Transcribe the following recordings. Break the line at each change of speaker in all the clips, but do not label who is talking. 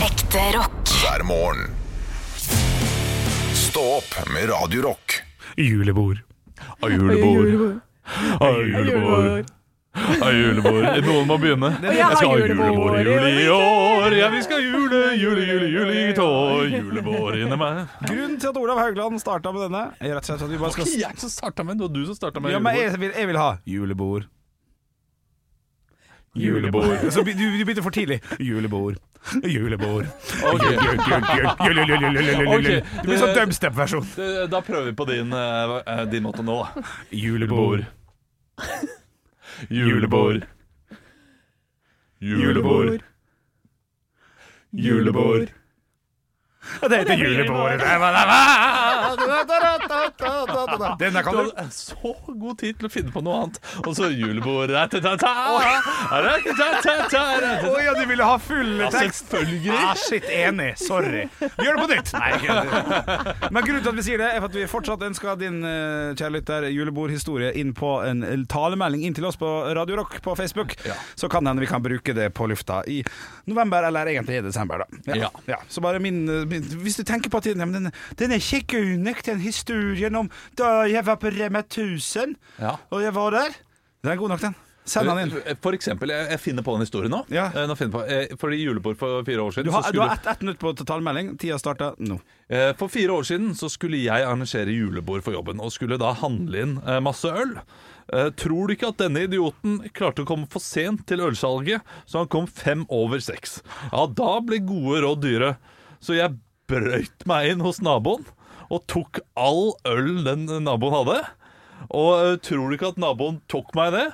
Ekte rock.
hver morgen. Stå opp med Radio Rock.
Julebord.
Av julebord. Av julebord. Av julebord. Noen må begynne. Jeg skal ha julebord i jul i år. Ja, vi skal ha jule, jule, jule, jule i tår. Julebord inni meg.
Grunnen til at Olav Haugland starta med denne, er rett og slett at vi bare skal
jeg som starta med det, var du som starta
ja, men jeg, vil, jeg vil ha julebord.
Julebord.
Så be- du, du begynte for tidlig. Julebord. Julebord.
Ok,
Jul, jul, jul, jul, jul, jul, jul, jul, jul.
Ok,
Det blir sånn
det-
dubstep-versjon.
det- Da prøver vi på din, eh, din måte nå, da.
Julebord.
Julebord. Julebord. Julebord.
Det heter julebord. Denne
Du
kan du.
hadde så god tid til å finne på noe annet. Og så julebord Ra-ta-ta-ta. Ra-ta-ta-ta.
Å ja, du ville ha full
Ja,
tekst. Ah,
Altså, Selvfølgelig.
shit, enig. Sorry. Vi gjør det på nytt. Nei, jeg kødder. Men grunnen til at vi sier det, er for at vi fortsatt ønsker din eh, kjære lytter julebordhistorie inn på en talemelding inn til oss på Radio Rock på Facebook.
Ja.
Så kan det hende vi kan bruke det på lufta i november, eller egentlig i desember, da.
Ja.
Så bare min, eh, min Hvis du tenker på at den, den, den er kjekkunek, den historien om da jeg var på Rema 1000,
Ja.
og jeg var der Den er god nok, den. Send den inn.
For eksempel, jeg jeg finner på en historie nå.
Ja.
Eh, nå finner jeg på, eh, fordi julebord for fire år siden
Du har,
så
du
skulle,
har ett ett minutt på talemelding. Tida starter nå.
eh, For fire år siden så skulle jeg arrangere julebord for jobben, og skulle da handle inn eh, masse øl. Eh, Tror du ikke at denne idioten klarte å komme for sent til ølsalget, så han kom fem over seks? Ja, da ble gode råd dyre. Så jeg brøyt meg inn hos naboen og tok all øl den naboen hadde. Og eh, tror du ikke at naboen tok meg i det?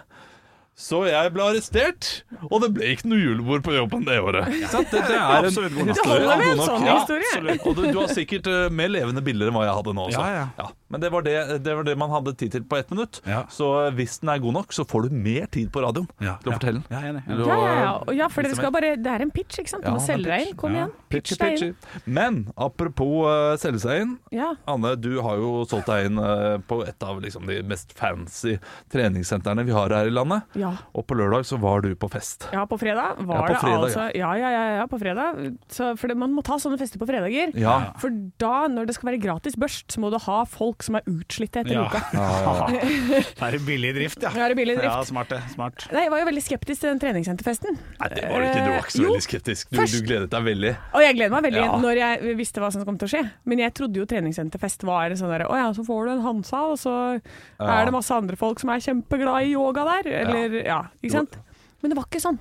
Så jeg ble arrestert, og det ble ikke noe julebord på jobben det året. Sant? Det, det er en
Absolutt god nok.
historie.
Det holder med en
God nok.
sånn
Ja,
historie.
absolutt. Og du, du har sikkert eh, mer levende bilder enn hva jeg hadde nå også.
Ja, ja.
Men det var det, det var det man hadde tid til på ett minutt.
Ja.
Så eh, hvis den er god nok, så får du mer tid på radioen
Ja,
til å
ja.
fortelle den.
Ja, jeg er enig.
Til å-
Ja, ja, ja. Og ja, for dere
Liksom
skal bare Det er en pitch, ikke sant? Du
Ja, det
må
er
selge deg
pitch.
inn. Kom
Ja.
igjen.
Pitchy,
Pitch deg inn.
pitchy. Men apropos eh, selge seg inn.
Ja.
Anne, du har jo solgt deg inn eh, på et av liksom, de mest fancy treningssentrene vi har her i landet.
ja.
Og på lørdag så var du på fest.
Ja, på fredag var
Ja, på fredag,
det altså Ja, ja, ja, ja på fredag. Så, for det, man må ta sånne fester på fredager.
Ja.
For da, når det skal være gratis børst, så må du ha folk som er utslitte etter en uke.
Det er billig drift, ja.
Ja, det er billig drift.
Ja, smart det. Smart.
Nei, jeg var jo veldig skeptisk til den treningssenterfesten.
Nei, det var det ikke. Du var ikke så
Eh, jo,
veldig skeptisk. Du, du
først-
gledet deg veldig.
Og jeg gleder meg veldig
Ja.
når jeg visste hva som kom til å skje. Men jeg trodde jo treningssenterfest var en sånn derre Å ja, så får du en Hansa, og så
Ja.
er det masse andre folk som er kjempeglade i yoga der. Eller ja, ikke sant. Men det var ikke sånn.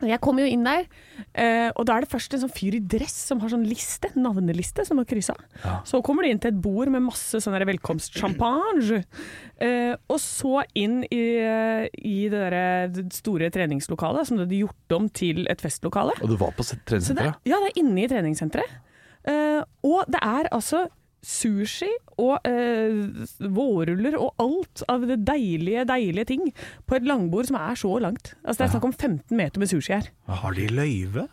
Jeg kom jo inn der, eh, og da er det først en sånn fyr i dress som har sånn liste, navneliste som har kryssa. Så kommer de inn til et bord med masse sånn der velkomstschampagne. Eh, og så inn i, eh, i det derre store treningslokalet som de hadde gjort om til et festlokale.
Og du var på se-
Så det,
treningssenteret?
ja, det er inne i treningssenteret. Eh, og det er altså sushi og eh, vårruller og alt av det deilige, deilige ting på et langbord som er så langt. Altså Det er snakk om 15 meter med sushi her.
Har de løyve?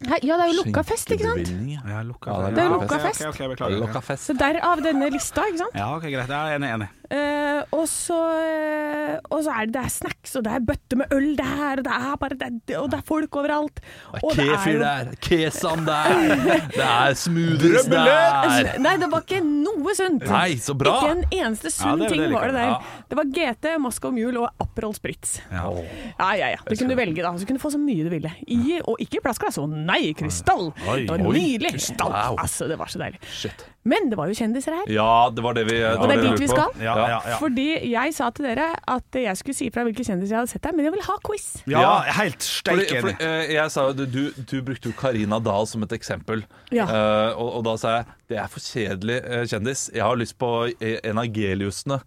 ja, det er jo lukka fest, ikke sant?
Skinkebevilgning, ja.
Ja, lukka,
Ja, det er
Det er
lukka
lukka fest.
Ok, ok, ok, beklager.
Lokka fest.
Så derav denne lista, ikke sant.
Ja, ok, greit. Jeg er enig, enig.
Eh, og så, eh, og så er det, det er snacks, og det er bøtter med øl der, og det er, bare, det er, og det er folk overalt. Og det er
Kefir
jo-
der, kesam der, det er smoothies der.
Altså, Nei, det var ikke noe sunt.
Nei, så bra.
Ikke en eneste sunn
Ja, det er jo
ting
det jeg
var det der.
liker.
Det var GT, Moskva Mule og Aperol Spritz.
Ja.
Ja, ja, ja. Du kunne velge, da. Du kunne få så mye du ville. I og ikke i plastglass. Å nei, krystall!
Oi,
Det var
oi,
nydelig.
krystall. Wow.
Altså, det var så deilig.
Shit.
Men det var jo kjendiser her.
Ja, det var det vi
Og det er dit vi skal.
Ja, ja, ja.
Fordi jeg sa til dere at jeg skulle si fra hvilke kjendiser jeg hadde sett der, men jeg vil ha quiz.
Ja, helt
Fordi,
steik
fordi,
enig.
eh, jeg sa jo, du, du- du brukte jo Karina Dahl som et eksempel.
Ja.
Eh, og, og da sa jeg det er for kjedelig eh, kjendis. Jeg har lyst på eh, en av Geliusene.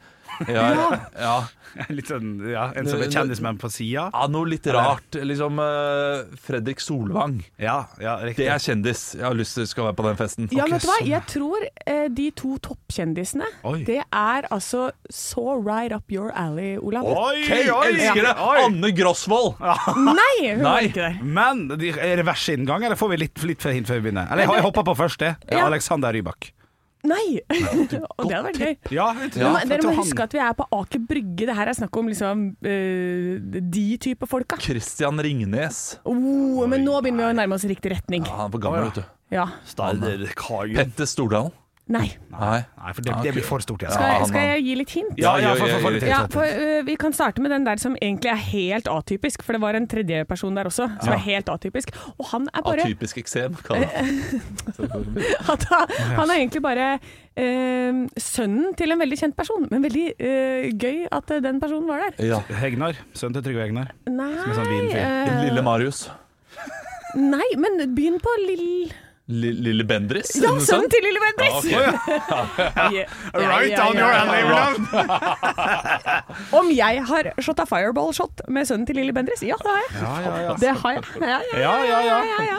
ja. ja.
Litt sånn, ja, en som er kjendismann på sida.
Ja, noe litt rart. Liksom eh, Fredrik Solvang.
Ja, ja, riktig.
Det er kjendis. Jeg har lyst til skal være på den festen.
Ja,
Ok,
vet du hva?
sånn.
Jeg tror eh, de to toppkjendisene,
Oi.
det er altså så right up your alley, Olav.
Oi,
Hei,
oi,
elsker det!
oi.
Anne Grosvold!
Nei,
Nei.
hun var ikke der.
Men de- er det versinngang, eller får vi litt, litt hint før vi begynner? Eller jeg, jeg hopper på første.
Ja.
Alexander Rybak.
Nei! og det hadde vært gøy.
Ja, vet du,
Ja,
for
Men dere må
at han-
huske at vi er på Aker Brygge. Det her er snakk om liksom eh, de type folka.
Christian Ringnes.
Oh, men nå begynner vi å nærme oss i riktig retning.
Ja, han er for gammel, vet du.
Ja.
Petter Stordalen.
Nei.
Nei.
Nei, for det, det blir for stort. Jeg.
Skal,
han
skal
er-
jeg gi litt hint?
Ja, ja,
Ja,
for, for, for,
ja, ja,
Ja, for eh, Vi kan starte med den der som egentlig er helt atypisk, for det var en tredjeperson der også som er helt atypisk. Og han er bare
Atypisk eksem. kaller han.
at han, han er egentlig bare eh, sønnen til en veldig kjent person, men veldig eh, gøy at eh, den personen var der.
Ja.
Hegnar. Sønnen til Trygve Hegnar.
Nei,
er sånn vinfyr.
eh,
Lille Marius.
nei men begynn på Lill...
Li- Lille Bendris.
Ja,
er det
sønnen
sant?
til Lille Bendriss!
ok. Ah,
Right Om jeg har shot a fireball shot med sønnen til Lilly Bendriss? Ja, det har jeg.
Ja, ja, ja.
Det har jeg. Ja, ja,
Ja, ja, ja.
ja, ja.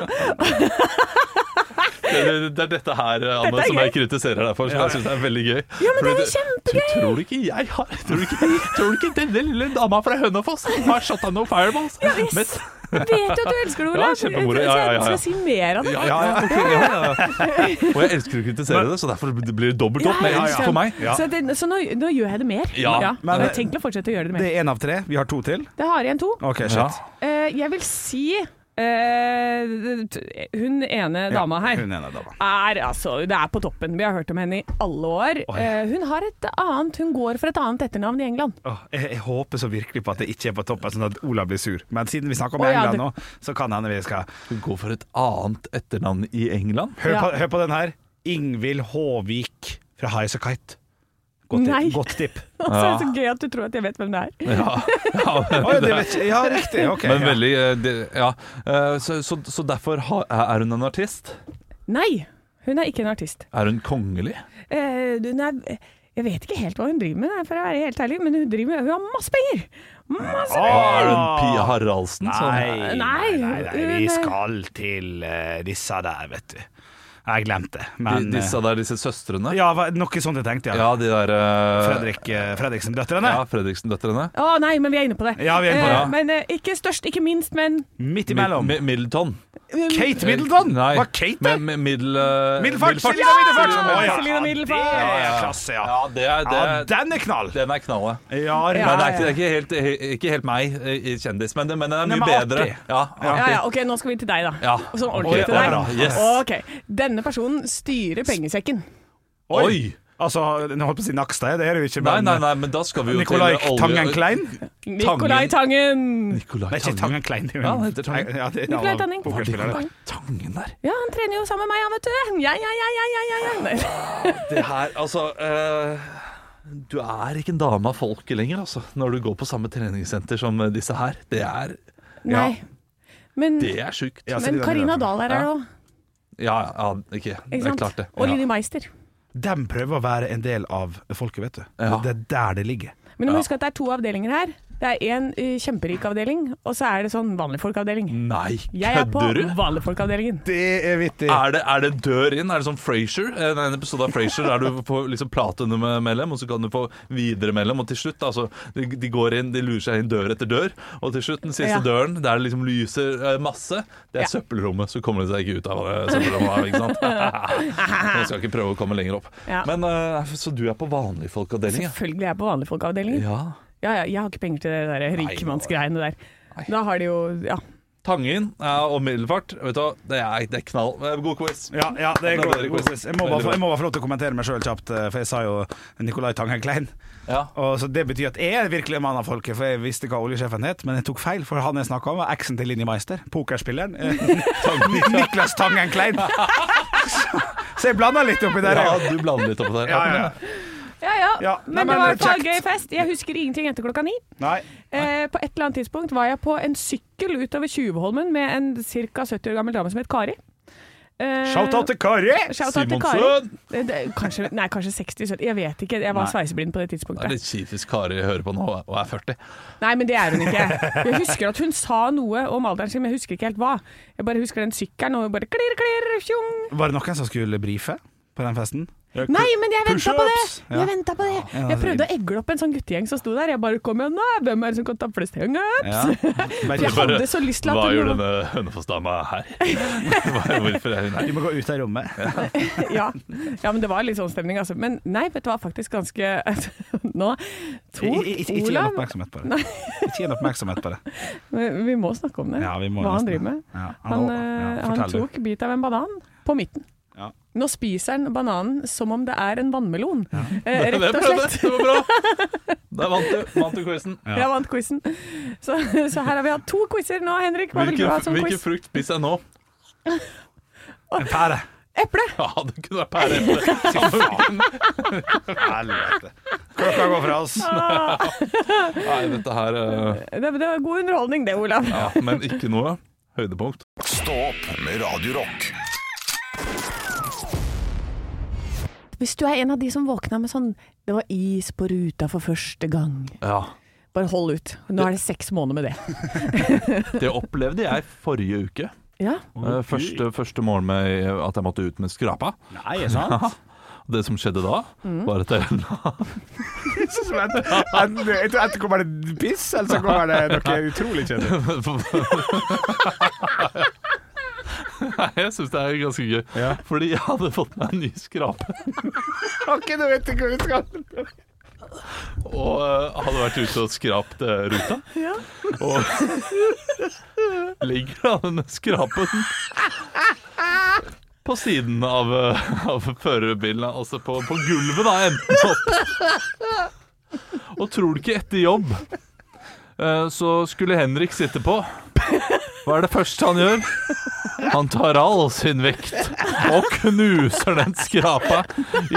Det, det, det er dette her Anne,
er
som jeg
gøy.
kritiserer deg for, som jeg syns er veldig gøy.
Ja, men det
Fordi
er jo kjempegøy!
Tror, tror du ikke jeg har Tror du ikke, tror du ikke denne lille dama fra Hønefoss har shotta noen fireballs? Ja,
Yes. Vet jo at du elsker det,
Ja,
Olav.
kjempemoro. Ja, ja, ja, ja.
Skal jeg si mer av det?
ja, ja, ok, ja, ja. Og jeg elsker å kritisere det, så derfor blir det dobbelt opp. Men
Ja, ja,
elsk for meg.
Så, det, så nå, nå gjør jeg det mer.
Ja,
men-
og jeg tenker å fortsette å gjøre det
Det
mer.
er én av tre. Vi har to til.
Det har igjen to.
OK, shit.
Ja.
Eh, jeg vil si eh, t- hun ene dama her
Hun ene dama.
er altså Det er på toppen. Vi har hørt om henne i alle år. Eh, hun har et annet Hun går for et annet etternavn i England.
Åh, jeg, jeg håper så virkelig på at det ikke er på toppen, sånn at Olav blir sur. Men siden vi snakker om
Å, ja,
England nå, så kan hende vi skal
Du går for et annet etternavn i England?
Hør,
Ja.
på, hør på den her. Ingvild Håvik fra Highas og Kite. Godt,
Nei.
tipp. godt tipp.
Og så er det så gøy at du tror at jeg vet hvem det er.
Ja, ja men,
Oi, det vet jeg. Ja, riktig. ok
men
ja.
veldig eh, det, Ja. Eh, Så, så, så derfor har- er hun en artist?
Nei, hun er ikke en artist.
Er hun kongelig?
Eh, hun er Jeg vet ikke helt hva hun driver med, for å være helt ærlig, men hun, driver med, hun har masse penger! Masse
Åh,
penger!
Er hun Pia Haraldsen? Sånn?
Nei,
Nei,
nei, nei, nei,
hun- eh,
vi skal til eh, disse der, vet du. Jeg glemte det, men
De, disse der, disse søstrene?
eh, Ja, hva- noe sånt jeg tenkte, ja.
Ja, de der eh,
Fredrik, eh, Fredriksen-døtrene.
Ja, Fredriksen-døtrene.
Å nei, men vi er inne på det.
Ja, vi er inne på det,
Eh,
ja.
Men eh, ikke størst, ikke minst, men
Midt
Mi-
imellom.
Mi- Middleton. Eh,
Kate Middleton!
Nei,
Var Kate der?
men- men Middel, eh,
Middelfart!
Middelfart.
Selina Middelfart!
Ja,
Å,
Selina Middelfart.
Det er klasse, ja.
Ja, det er, det,
Ja, den er knall.
den er knallet.
Ja,
Ja.
Men det er ikke, det er ikke, helt, he- ikke helt meg eh, i kjendis, men det, men det er
Nei,
mye
men
bedre.
artig.
Ja,
Ja,
artig.
ja, ok, nå skal vi til deg, da.
Ja.
Sånn
Oi,
ordentlig
det
til
er
deg.
bra. Yes.
Ok, Denne personen styrer pengesekken.
Oi!
Altså, nå holdt på å si Nakstad, det er det jo ikke,
Nei,
men
nei, nei, men da skal vi jo
Nicolai
til olje-
Tangen Klein?
Nicolai Tangen!
Nicolai
Nei, ikke
Tangen.
Tangen Klein. det er jo
Ja,
en-
han heter Tangen.
Ja, det er en
Nicolai
annen
Tangen.
pokerspiller, det.
Tangen der.
Ja, han trener jo sammen med meg, han, vet du. Ja, ja, ja, ja, ja, ja, ja. Nei.
Det her, altså eh, Du er ikke en dame av folket lenger, altså. Når du går på samme treningssenter som eh, disse her. Det er,
Nei. Men,
det er sjukt. Ja,
Ja,
men
Selina
Karina
Middelfart.
Dahl er her òg,
ja, ikke, det
ikke
er klart
sant?
det.
Og
Ja.
Linni Meister.
De prøver å være en del av folket, vet du.
Ja.
Det er der det ligger.
Men du må huske at det er to avdelinger her. Det er én kjemperik avdeling, og så er det sånn vanligfolkavdeling.
Nei,
Jeg er på
Mm. kødder du?
vanligfolkavdelingen.
Det er vittig.
Er det, er det dør inn? Er det sånn Frasier? En en episode av Frasier der du får liksom platinum-medlem, og så kan du få videre medlem, og til slutt altså, de, de går inn, de lurer seg inn dør etter dør, og til slutt den siste
Ja.
døren, der det liksom lyser eh, masse, det er søppelrommet. Så kommer de seg ikke ut av det søppelrommet, her, ikke sant? Man skal ikke prøve å komme lenger opp.
Ja.
Men eh, Så du er på vanlige folkeavdeling, ja?
Selvfølgelig er jeg på vanligfolkavdelingen.
ja.
Ja, ja, jeg har ikke penger til det der rikmannsgreiene der.
Nei.
Da har de jo Ja.
Tangen ja, og middelfart, vet du hva, det er, det er knall. Eh, God quiz.
Ja, ja, det er
Da
god,
blir det
god
quiz.
quiz. Jeg må, bare, få- jeg må bare få lov til å kommentere meg sjøl kjapt, eh, for jeg sa jo Nicolai Tangen Klein.
Ja.
Og så Det betyr at jeg er virkelig en mann av folket, for jeg visste hva oljesjefen het, men jeg tok feil, for han jeg snakka om, var eksen til Linni Meister, pokerspilleren. Eh, Niklas Tangen Klein. Så jeg blanda litt oppi der.
Ja,
jeg.
du blander litt oppå der.
Ja, ja, ja.
Ja, ja.
Ja, nei,
men, det
men
var i hvert fall
kjekt.
gøy fest. Jeg husker ingenting etter klokka ni.
Nei.
Eh, på et eller annet tidspunkt var jeg på en sykkel utover Tjuvholmen med en ca. 70 år gammel dame som het Kari. Eh,
Shout-out til Kari!
shout out til Kari.
Simonsen!
Det- det- Kanskje, nei, kanskje 60-70, jeg vet ikke. Jeg var sveiseblind på det
Det er
tidspunktet.
litt kjipt hvis Kari hører på nå og er 40.
Nei, men det er hun ikke. Jeg husker at hun sa noe om alderen sin, men jeg husker ikke helt hva. Jeg bare husker den sykkelen og bare klirr, klirr, tjong.
Var det noen som skulle brife? på den festen?
Nei, men jeg venta på det!
Push-ups!
Ja.
Jeg ventet på det
Ja,
Jeg
det-
prøvde å egle opp en sånn guttegjeng som sto der. Jeg bare kom igjen, nå! Hvem er det som kan ta flest hangups?
Ja.
For jeg
Bare-
Bare,
hadde så lyst til at
Hva
hun-
gjør denne hønefossdama her? Hva- Hvorfor er hun her?
Du må gå ut av rommet.
ja. ja, men det var litt sånn stemning, altså. Men nei, vet du hva, faktisk ganske Nå
I-
Tor,
i- i- Ikke gi
Olav
oppmerksomhet på det. Ikke gi oppmerksomhet på det.
Men Vi må snakke om det.
Ja, vi må
hva
nesten
han
det.
driver med.
Ja,
Han,
ja,
eh, han
fortell du.
tok bit av en banan på midten.
Ja.
Nå spiser han bananen som om det er en vannmelon, eh,
Det er
rett og
bra,
slett.
det det var bra! Der vant du, vant du quizen.
Ja.
Jeg vant quizen. Så, så her har vi hatt to quizer nå, Henrik. Hva vil du
Hvilken,
ha som
hvilken
quiz?
frukt spiser jeg nå?
En pære.
Eple!
Ja, det kunne vært pære. eple. Samme hvilken.
Helvete. Klokka går fra oss.
Nei, dette her eh,
Det, det var god underholdning det, Olav.
Ja, men ikke noe høydepunkt.
Stå opp med Radio Rock.
Hvis du er en av de som våkna med sånn Det var is på ruta for første gang.
Ja.
Bare hold ut. Nå er det seks måneder med det.
Det opplevde jeg forrige uke.
Ja.
Eh, Første, første morgen med at jeg måtte ut med skrapa.
Nei, er sant?
Det som skjedde da, var at jeg la
Sånn som en- en- jeg tror Enten kommer det piss, eller så kommer det noe utrolig kjedelig.
Nei, jeg syns det er ganske gøy.
Ja.
Fordi jeg hadde fått meg en ny skrape.
Ok, nå vet jeg hvor vi skal.
Og eh, hadde vært ute og skrapt eh, ruta. Og ligger da denne skrapen på siden av, eh, av førerbilen, altså på, på gulvet, da, enden opp. Og tror du ikke etter jobb eh, så skulle Henrik sitte på. Hva er det første han gjør? Han tar all sin vekt og knuser den skrapa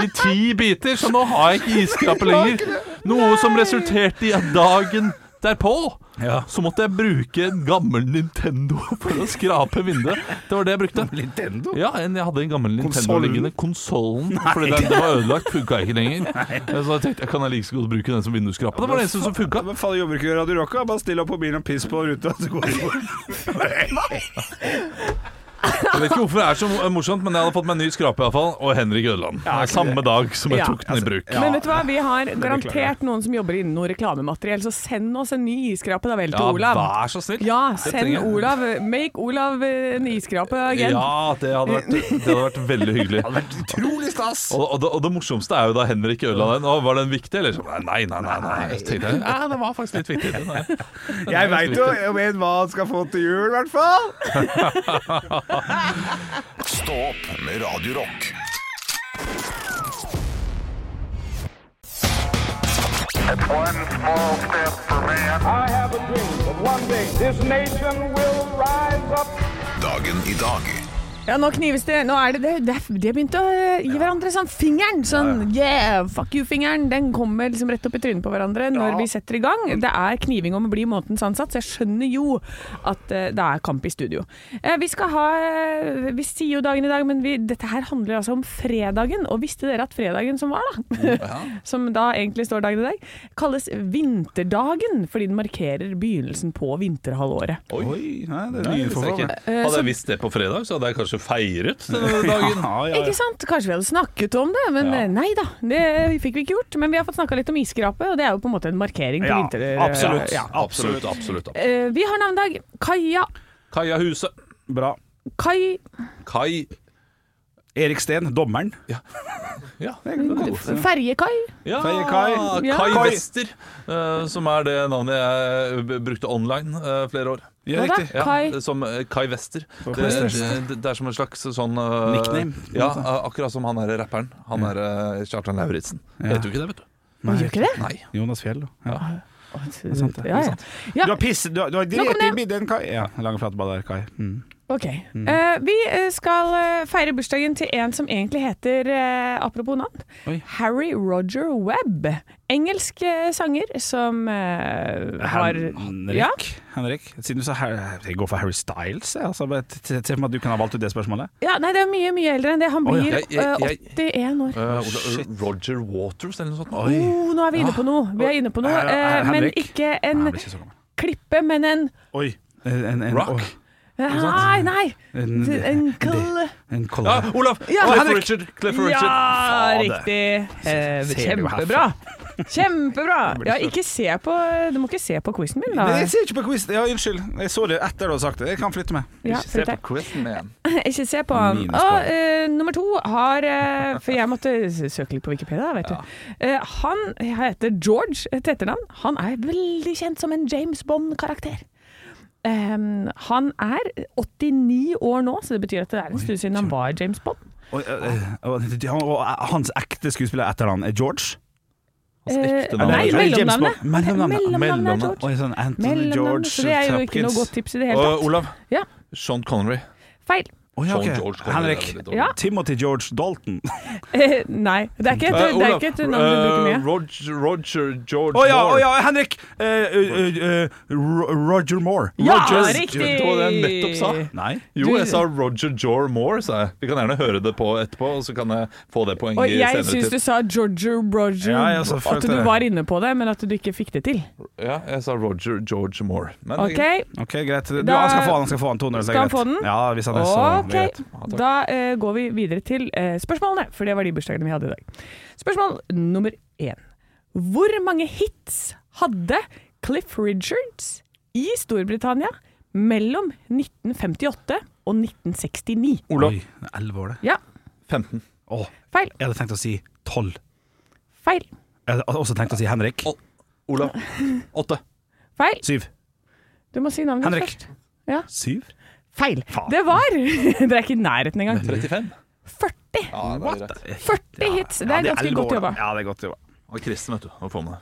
i ti biter, så nå har jeg ikke isskrape lenger. Noe som resulterte i at dagen derpå så måtte jeg bruke en gammel Nintendo for å skrape vinduet. Det var det jeg brukte.
Nintendo?
Ja, en, jeg hadde en gammel Nintendo
Konsollen?
liggende. Konsollen. Fordi den, den var ødelagt, funka ikke lenger. Så jeg tenkte jeg kan jeg like så godt bruke den som vindusskrape. Det var det eneste som funka.
Men faen, jobber ikke i Radio Rocka? Bare still opp på bilen og piss på ruta, så går det bort.
Jeg vet ikke hvorfor det er så morsomt, men jeg hadde fått meg en ny skrape iallfall. Og Henrik Ødeland. Samme dag som jeg
Ja.
tok den i bruk.
Men vet du hva, vi har garantert noen som jobber innen noe reklamemateriell, så send oss en ny iskrape da vel til
Ja,
Olav.
vær så snill.
Ja,
Det
send
trenger jeg.
Olav. Make Olav eh, en iskrape again.
Ja, det hadde vært, det hadde vært veldig hyggelig.
Utrolig stas!
Og, og, det, og det morsomste er jo da Henrik ødela den. Å, var den viktig, eller? Så, Nei, nei, nei. nei. Så tenkte jeg, ja, det var faktisk litt viktig. Den er.
Jeg veit jo om en hva han skal få til jul, i hvert fall.
Stå opp med Radio Rock.
One small step for man.
I have a dream that one day this nation will rise up.
Dagen i dag.
Ja, nå knives det. Nå er det det. det er- De har begynt å eh, gi hverandre sånn fingeren. Sånn yeah, fuck you-fingeren. Den kommer liksom rett opp i trynet på hverandre når vi setter i gang. Det er kniving om å bli månedens ansatt, så jeg skjønner jo at eh, det er kamp i studio. Eh, Vi skal ha eh, Vi sier jo dagen i dag, men vi, dette her handler altså om fredagen. Og visste dere at fredagen som var, da, som da egentlig står dagen i dag, kalles vinterdagen fordi den markerer begynnelsen på vinterhalvåret.
Oi, nei, det er
Nei,
ny
det visste
info
jeg
for
ikke.
meg.
Hadde jeg visst det på fredag, så hadde jeg kanskje feiret denne dagen.
Ja, ja, ja.
Ikke sant? Kanskje vi hadde snakket om det, men eh, nei da. Det fikk vi ikke gjort. Men vi har fått snakka litt om isskrape, og det er jo på en måte en markering på
Ja,
vinter...
absolutt.
Ja.
Absolutt, absolutt. absolutt.
Eh, Vi har navnedag. Kaja
Kaja Huse.
Bra.
Kai
Kai
Erik Steen, dommeren.
Ja.
Oh,
Ferjekai.
ja
Feie Kai.
Ja.
Kai
Kai.
Wester, eh, som er det navnet jeg b- brukte online eh, flere år.
Ja,
Hva da?
riktig.
Ja,
Kai.
Som eh, Kai Wester. Det,
Wester.
det, det er som en slags sånn eh,
Nickname.
Ja, eh, akkurat som han er rapperen. Han er eh, Kjartan Lauritzen.
Ja.
Vet du ikke det, vet du?
Å, Gjør ikke det?
Nei.
Jonas Fjell. Ja. sant, det er
Ja, ja.
Du
ja
har pisset Du har, du har
Nå kom
drept i
det.
midden, Kai. Ja, lange flateball der, Kai. Mm.
ok. Eh, vi eh, skal eh, feire bursdagen til en som egentlig heter, eh, apropos navn,
Oi.
Harry Roger Webb. Engelsk eh, sanger som eh, har
Henrik.
Ja,
Henrik. Siden du sa Harry Jeg går for Harry Styles, jeg. Altså, bare t- t- Se for meg at du kan ha valgt ut det spørsmålet.
ja, nei, det er mye, mye eldre enn det. Han
Å,
blir
ja.
Jeg- jeg-
eh,
jeg-
81 år.
Eh, Ola- Roger Waters eller noe sånt.
Oh, nå er vi inne på noe. Vi er inne på noe.
Her- her-
eh, Men
Henrik.
ikke
Nei,
en
jeg blir ikke så gammel.
klippe, men en
Oi. En, en,
Rock?
oi.
Nei, nei!
En-
En, en kall-
En
Ja,
kolla.
Olaf!
Ja,
Ah, Cliff
Henrik.
Richard. Cliff Richard.
Ja,
Fader.
riktig. Eh,
Ser du
kjempebra. Kjempebra. Ja, ikke se på Du må ikke se på quizen min,
Nei,
da.
jeg ser ikke på quiz. Ja, unnskyld. Jeg så det etter du har sagt det. Jeg kan flytte meg.
Ja,
Ikke se
flytt
på
deg.
quizen igjen.
Ikke se på han.
Minuspoeng.
Og eh, nummer to har eh, For jeg måtte s- søke litt på Wikipedia, vet du. Eh, han heter George til etternavn. Han er veldig kjent som en James Bond-karakter. Eh, han er 89 år nå, så det betyr at det er en stund siden han var James Bond.
Og, øh, øh, og, og hans ekte skuesspiller etter han er George.
Altså, ekte
Eh,
navn.
nei,
James
mellomnavnet.
Bond. Mellomnavnet.
Mellomnavnet er
Mellomnavnet.
George.
Oi, sånn Anthony
Mellomnavnet,
George
så det er jo ikke noe godt tips i det hele
Og,
tatt.
Olav.
Ja.
Sean Connery.
Feil.
Oi, ja, ok.
Sean George Connery
Henrik.
er veldig dårlig.
Ja.
Timothy George Dalton.
Eh, Nei, det er
Eh,
ikke et, det er
Olav,
ikke et navn du bruker
eh,
mye.
Roger, Roger George
Å ja, å
Moore.
ja, Henrik! Eh, eh, eh, Ro- Roger Moore.
Ja,
Rogers.
riktig!
Det var det jeg nettopp sa.
Nei.
Jo,
Du-
jeg sa Roger Jore Moore, sa jeg. Vi kan gjerne høre det på etterpå, og så kan jeg få det poenget
Og jeg
senere.
syns du
tid.
sa Georger Roger
Ja, jeg også
At
følte
du
det.
var inne på det, men at du ikke fikk det til.
Ja, jeg sa Roger George Moore. Men
OK,
Ok, greit. Du,
Da-
han skal få han, han skal få han 200. så er
Skal han
greit.
få den?
Ja, hvis han er så
Ok,
greit.
da eh, går vi videre til eh, spørsmålene, for det var de bursdagene vi hadde i dag. Spørsmål nummer én. Hvor mange hits hadde Cliff Richards i Storbritannia mellom 1958 og 1969?
Olav.
Oi, det er 11 år, det.
Ja,
15.
Åh,
feil,
jeg hadde tenkt å si 12.
feil,
Jeg hadde også tenkt å si Henrik.
Å. Olav. 8.
feil.
7.
Du må si navnet ditt
Henrik.
først.
7?
Feil. Det var Dere er ikke i nærheten engang.
35.
40!
Ja, det er greit.
40 hits. Det er ganske godt jobba.
Ja, det er godt jobba.
Og kristen, vet du. Nå får man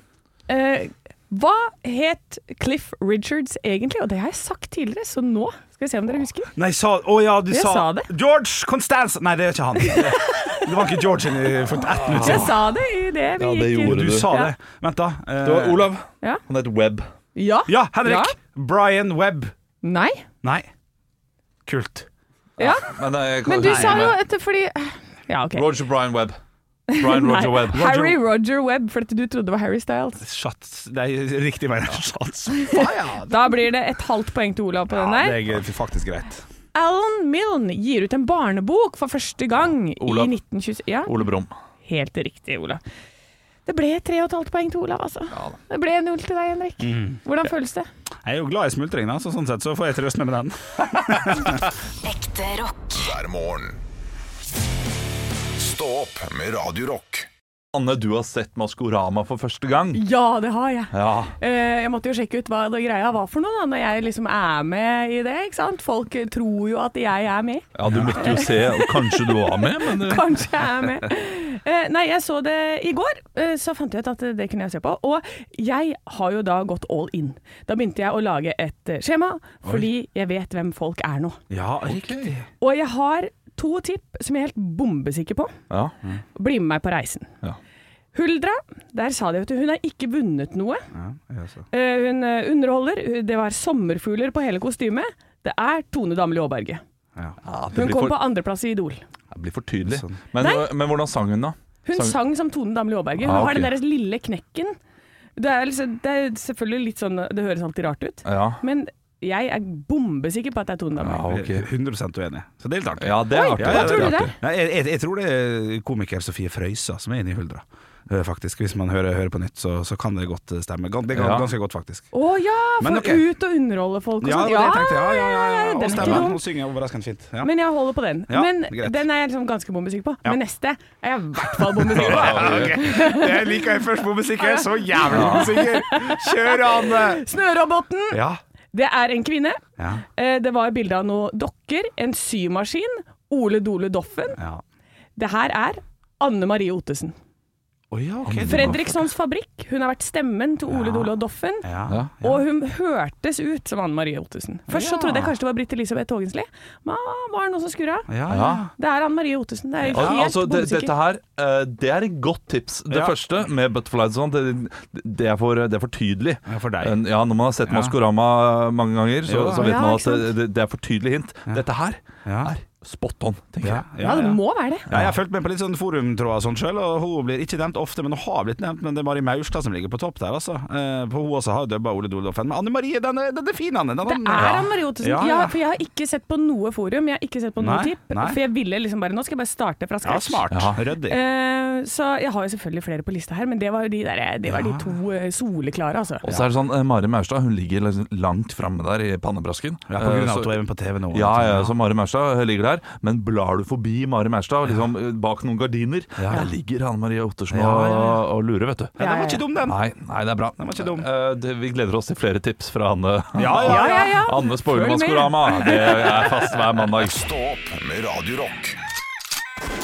det.
Eh, hva het Cliff Richards egentlig? Og det har jeg sagt tidligere, så nå skal vi se om dere husker.
Nei, sa Å ja, du
Jeg
sa,
sa det.
George Constance Nei, det er ikke han. Det var ikke George i- for ett minutt
Jeg
siden.
sa det i det vi
Ja, det
gikk
gjorde
Du
du.
sa
Ja.
det. Vent, da. Eh,
Det var Olav.
Ja.
Han het Webb.
Ja.
Ja, Henrik.
Ja.
Brian Webb.
Nei.
Nei. Kult.
Ja.
Men, eh, jeg kan-
Men du
Nei,
sa jo
men-
etter fordi Ja, OK.
Roger Brian Webb. Brian
Nei,
Roger Webb.
Harry Roger Webb, for dette du trodde det var Harry Styles.
Shots Det er riktig vei. Shots.
Da blir det et halvt poeng til Olav på den der.
det er faktisk greit.
Alan Milne gir ut en barnebok for første gang
Olav.
i 1927. Ja,
Ole Brumm.
Helt riktig, Olav. Det ble tre og et halvt poeng til Olav, altså. det ble null til deg, Henrik.
Mm.
Hvordan føles det?
Jeg er jo glad i smultring, da, så sånn sett så får jeg trøst meg med den.
Ekte rock.
hver morgen. Stå opp med Radio Rock.
Anne, du har sett Maskorama for første gang.
Ja, det har jeg.
Ja.
Eh, Jeg måtte jo sjekke ut hva det greia var for noe, da, når jeg liksom er med i det. ikke sant? Folk eh, tror jo at jeg er med.
ja, du måtte jo se. og Kanskje du var med, men eh,
Kanskje jeg er med. Eh, Nei, jeg så det i går, eh, så fant jeg ut at eh, det kunne jeg se på. Og jeg har jo da gått all in. Da begynte jeg å lage et eh, skjema, fordi jeg vet hvem folk er nå.
Ja, riktig.
Og jeg har to tipp som jeg er helt bombesikker på.
ja.
Bli med meg på reisen.
Ja.
Huldra, der sa de at hun har ikke vunnet noe.
Altså.
Eh, Hun eh, underholder. Det var sommerfugler på hele kostymet. Det er Tone Damli Aaberge.
Ja, det
Hun
blir
kom
for-
på andreplass i Idol.
Det blir for tydelig.
Sånn.
Men, eh,
Nei.
men hvordan sang hun, da?
Hun
Sang-
sang som Tone Damli Aaberge. Hun
Ah, ok.
har den deres lille knekken. Det er, liksom, det er selvfølgelig litt sånn Det høres alltid rart ut,
Ja.
men jeg er bombesikker på at det er Tone Damli.
Ja, ok.
100 uenig. Så det er litt artig.
ja, det er artig.
Ja,
Hva
ja, det
tror du
er
det?
artig. Nei, jeg, jeg, jeg tror det er komiker Sofie Frøysa som er inne i Huldra. eh, Faktisk, Hvis man hører, hører på nytt, så, så kan det godt eh, stemme. Gan- Det er
Ja.
ganske godt, faktisk.
Å ja!
Men
For
ok.
ut og underholde folk og
Ja,
sånn.
det var det jeg tenkte. Ja, ja, ja,
ja,
ja.
den
Og
er ikke
stemmen.
dum.
Hun synger overraskende fint. Ja.
Men jeg holder på den.
Ja,
men
greit.
den er jeg liksom ganske bombesikker på.
Ja.
Men neste er jeg i hvert fall bombesikker på.
Det liker jeg først bombesikker. Så jævlig bombesikker! Kjør an!
Snøroboten,
Ja.
det er en kvinne.
Ja.
Eh, Det var bilde av noen dokker, en symaskin, Ole Dole Doffen.
ja.
Det her er Anne Marie Ottesen.
Å ja, ok.
Fredrikssons Fabrikk. Hun har vært stemmen til Ole Dole og Doffen.
Ja.
Ja.
Og hun hørtes ut som Anne Marie Ottesen. Først så trodde jeg kanskje det var Britt Elisabeth Haagensli, men var det noe som skurra?
Ja, ja.
Ja.
Det er Anne Marie Ottesen. Det er jo
Al-
helt
altså, det,
bombesikker.
dette her eh, Det er et godt tips. Det
Ja.
første med butterflies og sånn, det, det, er for- det er for tydelig.
Ja, for deg.
En- Ja, når man har sett Maskorama mange ganger, så,
Jo da.
så vet
Ja,
man
ikke
at det, det er for tydelig hint. Dette her
Ja.
er spot on, tenker
Ja,
jeg.
Ja, det må være det.
Ja, jeg har fulgt med på litt sånn forumtråder og sånn sjøl, og hun blir ikke nevnt ofte, men hun har blitt nevnt. Men det er Mari Maurstad som ligger på topp der, altså. Eh, for hun også har dubba Ole Doldoffen. Men Anne Marie, den er, den er fin, Anne. Den,
Det er Anne Marie Ottesen.
Ja,
Ja,
ja.
for jeg har ikke sett på noe forum, jeg har ikke sett på noe
Nei,
tipp.
nei.
For jeg ville liksom bare Nå skal jeg bare starte fra
ja,
scratch.
smart.
Ja.
Ryddig.
Eh, så jeg har jo selvfølgelig flere på lista her, men det var jo de, der, det var de to eh, soleklare, altså.
Og så er det sånn, eh, Mari Maurstad hun ligger liksom langt framme der i pannebrasken.
Ja, på
Eh,
grunn av
så-
at hun er med på TV nå. altså.
Ja, ja, så Mari Maurstad eh, ligger der. Men blar du forbi Mari Maurstad, liksom eh, bak noen gardiner, der ligger Anne Marie Ottersen
Ja, ja, ja.
og- og lurer, vet du.
Ja, den var ikke dum, den.
Nei, nei, det er bra.
Den var ikke dum.
Eh, det, vi gleder oss til flere tips fra Anne.
Ja, ja,
Ja, ja, ja.
Anne
Følg med.
Spoilermaskorama. Det er fast hver mandag.
Stå opp med Radio Rock.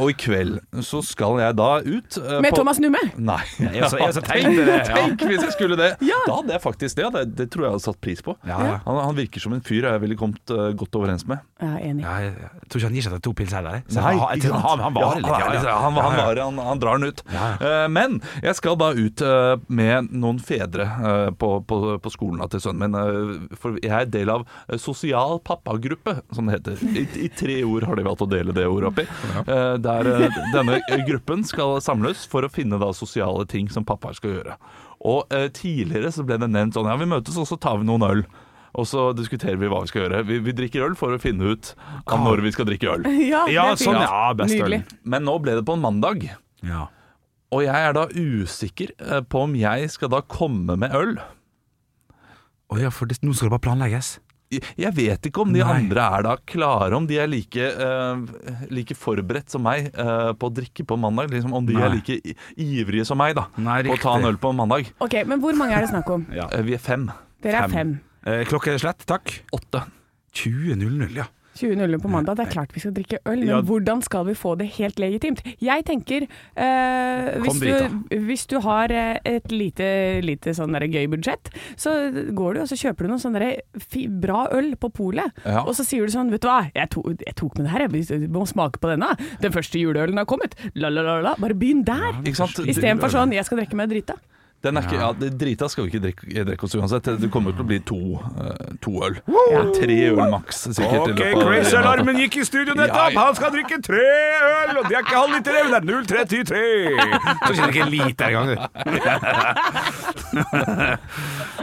Og i kveld så skal jeg da ut eh,
Med
på-
Thomas Numme!
Nei.
Jeg også- jeg også
Tenk-
tenkte det, ja.
Tenk hvis jeg skulle det.
Ja.
Da hadde jeg faktisk det. Det, det tror jeg hadde satt pris på.
Ja, ja.
Han, han virker som en fyr jeg ville kommet eh, godt overens med.
Jeg er enig.
Ja, jeg, jeg tror ikke han gir seg til to pils heller. jeg. Så
Nei,
han, jeg
ikke
tror
sant?
han, han varer
Ja, er
litt. Ja, ja.
Han, han,
Ja, ja.
varer, han, han drar den ut.
Ja,
Eh, Men jeg skal da ut eh, med noen fedre eh, på, på, på skolen til sønnen min. eh, For jeg er del av eh, sosial pappagruppe, som det heter. I, I tre ord har de valgt å dele det ordet opp i. Eh, Der eh, denne gruppen skal samles for å finne da sosiale ting som pappaer skal gjøre. Og eh, tidligere så ble det nevnt sånn Ja, vi møtes, og så tar vi noen øl. Og så diskuterer vi hva vi skal gjøre. Vi, vi drikker øl for å finne ut av når vi skal drikke øl.
Ja,
Ja,
det er fint.
sånn, ja. Best øl.
Nydelig.
Men nå ble det på en mandag,
Ja.
og jeg er da usikker eh, på om jeg skal da komme med øl.
Å ja, for det, nå skal det bare planlegges.
Jeg- Jeg vet ikke om de
Nei.
andre er da klare, om de er like, eh, like forberedt som meg eh, på å drikke på mandag. Liksom, om de
Nei.
er like i- ivrige som meg da,
Nei,
på å ta en
riktig.
øl på mandag.
Ok, men hvor mange er det snakk om?
Eh, Vi er fem.
Dere er fem.
Eh, klokkeslett, takk.
Åtte.
20.00, ja.
20.00 på mandag. Det er klart vi skal drikke øl, men
Ja.
hvordan skal vi få det helt legitimt? Jeg tenker eh, hvis,
Kom dit,
du, hvis du har eh, et lite, lite sånn der gøy budsjett, så går du og så kjøper du noen sånne der fi- bra øl på polet,
Ja.
og så sier du sånn Vet du hva, jeg, to, jeg tok med det her, jeg Vi må smake på denne. Den første juleølen har kommet. La, la, la, la. Bare begynn der.
Ikke sant?
Istedenfor sånn Jeg skal drikke meg drita.
Den er ikke, ja, det- Drita skal vi ikke drikke, drikke oss uansett. Det kommer til å bli to, eh, to øl. Tre øl maks, sikkert. i
Ok,
løpet av-
Crazy-alarmen gikk i studio nettopp!
Ja, ja.
Han skal drikke tre øl! Og det er ikke halv liter øl, det er 0,33! Så kjenner ikke en liter engang, du.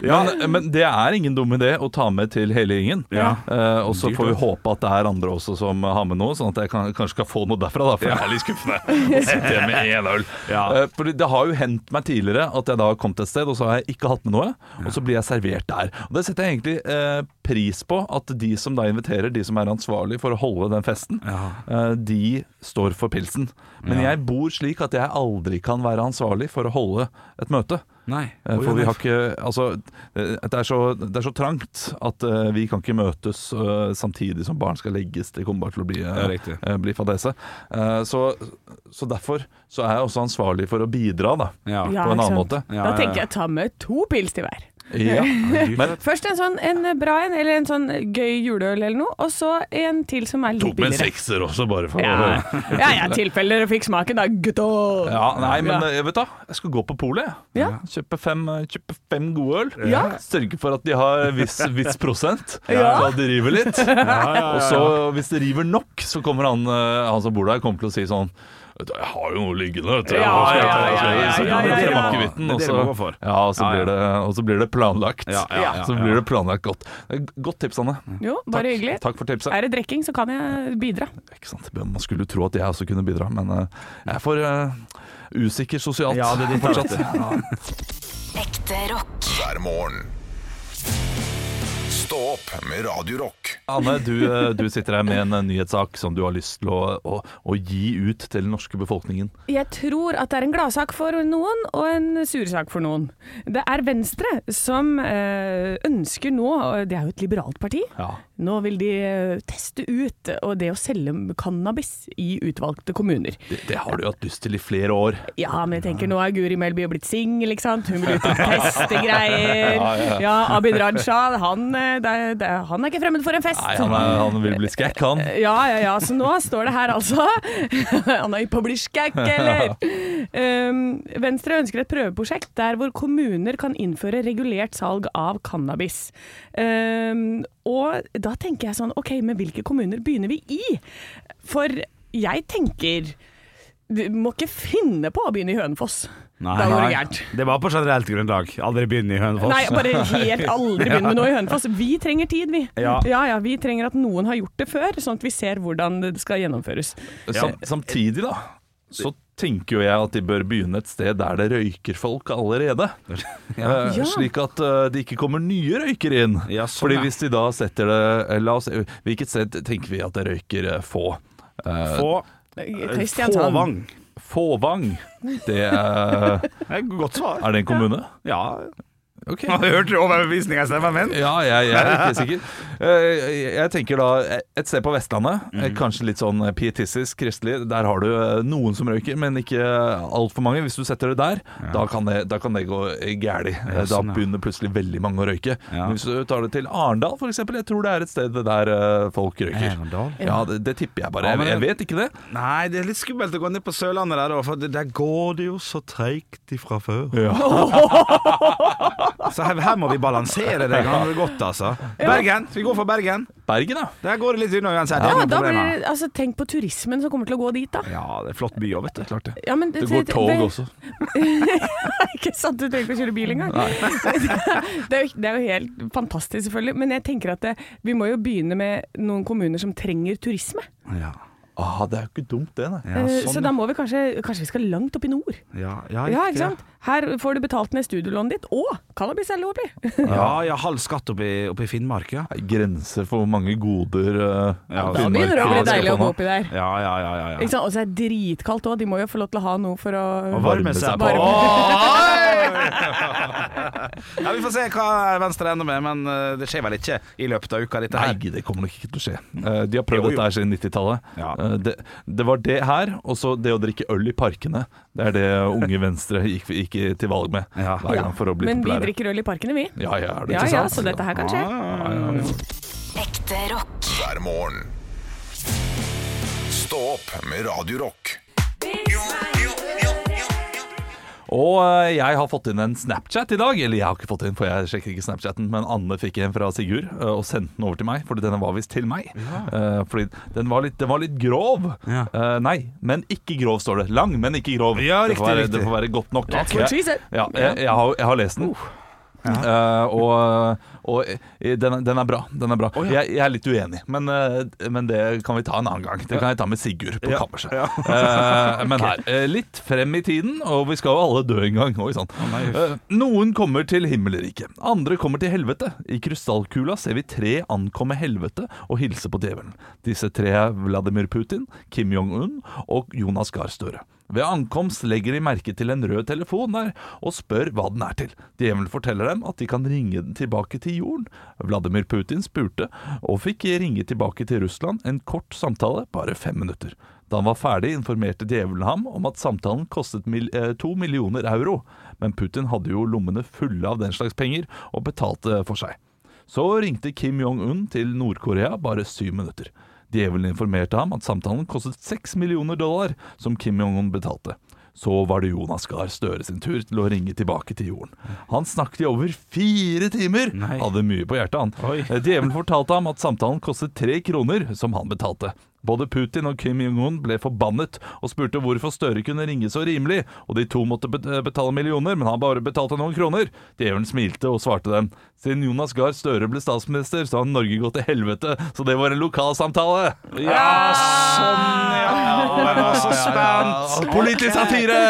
Men, men det er ingen dum idé å ta med til hele gjengen.
Ja.
Eh, og så får vi håpe at det er andre også som har med noe, sånn at jeg kan, kanskje skal få noe derfra. Da, for jeg er litt skuffende å sitte igjen med én øl.
Ja.
Eh, fordi det har jo hendt meg tidligere at jeg da har kommet et sted, og så har jeg ikke hatt med noe. Og så blir jeg servert der. Og Det setter jeg egentlig eh, pris på, at de som da inviterer, de som er ansvarlig for å holde den festen, eh, de står for pilsen. Men jeg bor slik at jeg aldri kan være ansvarlig for å holde et møte.
Nei.
Eh, For vi har ikke Altså, eh, det er så, det er så trangt at eh, vi kan ikke møtes eh, samtidig som barn skal legges. Det kommer bare til å bli, eh,
Ja, riktig.
eh, bli fadese. Eh, Så, så derfor så er jeg også ansvarlig for å bidra, da. Ja.
Ja.
på en
ikke
annen
sant?
måte.
Ja,
da
ja,
tenker
ja.
jeg ta med to pils til hver.
Ja. Men
Først en sånn en bra en, eller en sånn gøy juleøl eller noe, og så en til som er litt
tok med en
billigere.
sekser også, bare for
Ja,
å
ja, ja tilfelle dere fikk smaken da, gutta.
ja, Nei, men
Ja.
eh, vet du, hva? jeg skal gå på polet. jeg.
Ja.
Kjøpe, fem, eh, kjøpe fem gode øl.
Ja.
Sørge for at de har viss, viss prosent.
Ja.
Så at de river litt. Og så hvis det river nok, så kommer han, eh, han som bor der, kommer til å si sånn «Vet du, jeg har jo noe liggende, vet du.
Ja,
Hva skal jeg ta?»
ja, ja, ja,
Så
ja,
kommer
ja,
det til
ja.
makevitten,
Det er
og
det
så-
man går for.
Ja, og så
Ja, ja.
blir det, og så blir det planlagt.
Ja, ja, ja,
Så
ja.
blir det planlagt godt. Eh, Godt tips, Anne.
Jo, bare
Takk.
hyggelig.
Takk for tipset.
Er det drekking, så kan jeg bidra.
Ikke sant? Men Man skulle jo tro at jeg også kunne bidra, men eh, jeg er for eh, usikker sosialt
Ja, det er ditt
fortsatt.
Ekte rock.
hver morgen. Stå opp med Radio Rock.
Anne, du, eh, du sitter her med en eh, nyhetssak som du har lyst til å, å, å gi ut til den norske befolkningen.
Jeg tror at det er en gladsak for noen og en sursak for noen. Det er Venstre som eh, ønsker nå, og det er jo et liberalt parti,
Ja.
nå vil de eh, teste ut eh, og det å selge cannabis i utvalgte kommuner.
Det, det har du jo hatt lyst til i flere år.
Ja, men jeg tenker nå er Guri Melby jo blitt singel, ikke sant. Hun vil ut og teste greier. Ja, Abid Raja, han eh, der, det, han er ikke fremmed for en fest.
Nei, han, er, han vil bli skækk, han.
Eh, Ja, ja, ja. Så nå står det her, altså. Han er på bliskækk, eller? Um, Venstre ønsker et prøveprosjekt der hvor kommuner kan innføre regulert salg av cannabis. Um, og da tenker jeg sånn, OK, men hvilke kommuner begynner vi i? For jeg tenker Du må ikke finne på å begynne i Hønefoss.
Nei,
da går det
nei.
gærent.
Det var på generelt grunnlag. Aldri begynn i Hønefoss.
Nei, bare helt aldri begynn med noe i Hønefoss. Vi trenger tid, vi.
Ja.
ja, Vi trenger at noen har gjort det før, sånn at vi ser hvordan det skal gjennomføres.
Sam, samtidig, da, så tenker jo jeg at de bør begynne et sted der det røyker folk allerede. Eh,
Ja.
Slik at eh, det ikke kommer nye røykere inn.
Ja, sånn,
Fordi
ja.
hvis de da setter det eh, La oss se, hvilket sted tenker vi at det røyker eh, få? Eh,
Få
Kristiansand.
Fåvang.
Fåvang. Det er,
Det er et Godt svar.
er det en kommune?
Ja.
Ok.
Man har hørt overbevisninga, Stefan Venn.
Ja, jeg, jeg er ikke sikker. Eh, Jeg tenker da eh, et sted på Vestlandet,
Mhm.
eh, kanskje litt sånn pietistisk, kristelig. Der har du eh, noen som røyker, men ikke altfor mange. Hvis du setter det der, da, kan det, da kan det gå gæli. Eh, Da
sånn, ja.
begynner plutselig veldig mange å røyke.
Ja.
Men hvis du tar det til Arendal, f.eks., jeg tror det er et sted der eh, folk røyker.
Arendal?
Ja, det, det tipper jeg bare.
Ja, men-
Jeg, jeg vet ikke det.
Nei, det er litt skummelt å gå ned på Sørlandet der, da, for det- der går det jo så treigt ifra før. så her, her må vi balansere det ganske godt, altså. Bergen. Skal vi gå for Bergen?
Bergen, da.
Der går det litt unna uansett.
Ja,
det er noen
da blir
problemer.
det, altså, tenk på turismen som kommer til å gå dit, da.
ja, det er flott by òg, vet du. Klart det.
Ja, men
Det går tog også.
Ikke sant, du trenger ikke å kjøre bil engang. det, er jo, det er jo helt fantastisk, selvfølgelig. Men jeg tenker at det, vi må jo begynne med noen kommuner som trenger turisme.
Ja.
Ah, det er jo ikke dumt, det, nei.
Ja,
Eh,
sånn,
så da må vi kanskje Kanskje vi skal langt opp i nord.
ja, ja,
Ja,
riktig,
ikke sant? Her får du betalt ned studielånet ditt, og cannabis er lovlig!
Ja, ja, halv skatt oppe i Finnmark, ja.
Grenser for hvor mange goder eh,
Ja, da
Finnmark
Begynner det å bli
skal
deilig å
få
gå
nå.
oppi der.
Ja, ja, ja. ja, ja.
Ikke sant? Og så er det dritkaldt òg, de må jo få lov til å ha noe for å
Å altså, varme seg på.
Varme.
Oi! Ja, vi får se hva Venstre ender med, men eh, det skjer vel ikke i løpet av uka, dette her.
Nei, det kommer nok ikke til å skje. Eh, De har prøvd
Mm. Jo, jo.
dette her siden 90-tallet.
Ja.
Eh, Det, det var det her, og så det å drikke øl i parkene. Det er det Unge Venstre gikk, gikk til valg med
Ja.
hver gang for å bli
Men vi
populære.
drikker øl i parkene, vi.
Ja, ja, er det
Ja
ikke
ja,
sant?
så dette her kan skje.
Ekte rock.
hver morgen. Stå opp med Radio Rock.
Og eh, jeg har fått inn en Snapchat i dag. Eller jeg har ikke fått inn, for jeg sjekker ikke Snapchatten, men Anne fikk en fra Sigurd eh, og sendte den over til meg, fordi denne var visst til meg. Eh, Fordi den var litt, den var litt grov.
Ja.
Eh, Nei, men ikke grov, står det. Lang, men ikke grov.
Ja,
det, får
riktig,
være,
riktig.
det får være godt nok.
That's what she said.
Ja, jeg, jeg, har, jeg har lest den. Eh, og og eh, den, er- den er bra. Den er bra. jeg, jeg er litt uenig, men, eh, men det kan vi ta en annen gang. Det kan jeg ta med Sigurd på kammerset. Eh, men her eh, litt frem i tiden, og vi skal jo alle dø en gang. Oi, sann. Eh, noen kommer til himmelriket, andre kommer til helvete. I krystallkula ser vi tre ankomme helvete og hilse på djevelen. Disse tre er Vladimir Putin, Kim Jong-un og Jonas Gahr Støre. Ved ankomst legger de merke til en rød telefon der, og spør hva den er til. Djevelen forteller dem at de kan ringe den tilbake til jorden. Vladimir Putin spurte, og fikk ringe tilbake til Russland en kort samtale, bare fem minutter. Da han var ferdig, informerte djevelen ham om at samtalen kostet mil, eh, to millioner euro, men Putin hadde jo lommene fulle av den slags penger, og betalte for seg. Så ringte Kim Jong-un til Nord-Korea bare syv minutter. Djevelen informerte ham at samtalen kostet seks millioner dollar, som Kim Jong-un betalte. Så var det Jonas Gahr Støre sin tur til å ringe tilbake til jorden. Han snakket i over fire timer!
Nei.
Hadde mye på hjertet, han. Eh,
Oi.
Djevelen fortalte ham at samtalen kostet tre kroner, som han betalte. Både Putin og Kim Jong-un ble forbannet og spurte hvorfor Støre kunne ringe så rimelig, og de to måtte bet- betale millioner, men han bare betalte noen kroner. Djevelen smilte og svarte dem. Siden Jonas Gahr Støre ble statsminister, så har Norge gått til helvete, så det var en lokalsamtale.
Ja,
Ah.
sånn, ja. Å, Jeg var så spent.
Politisk satire!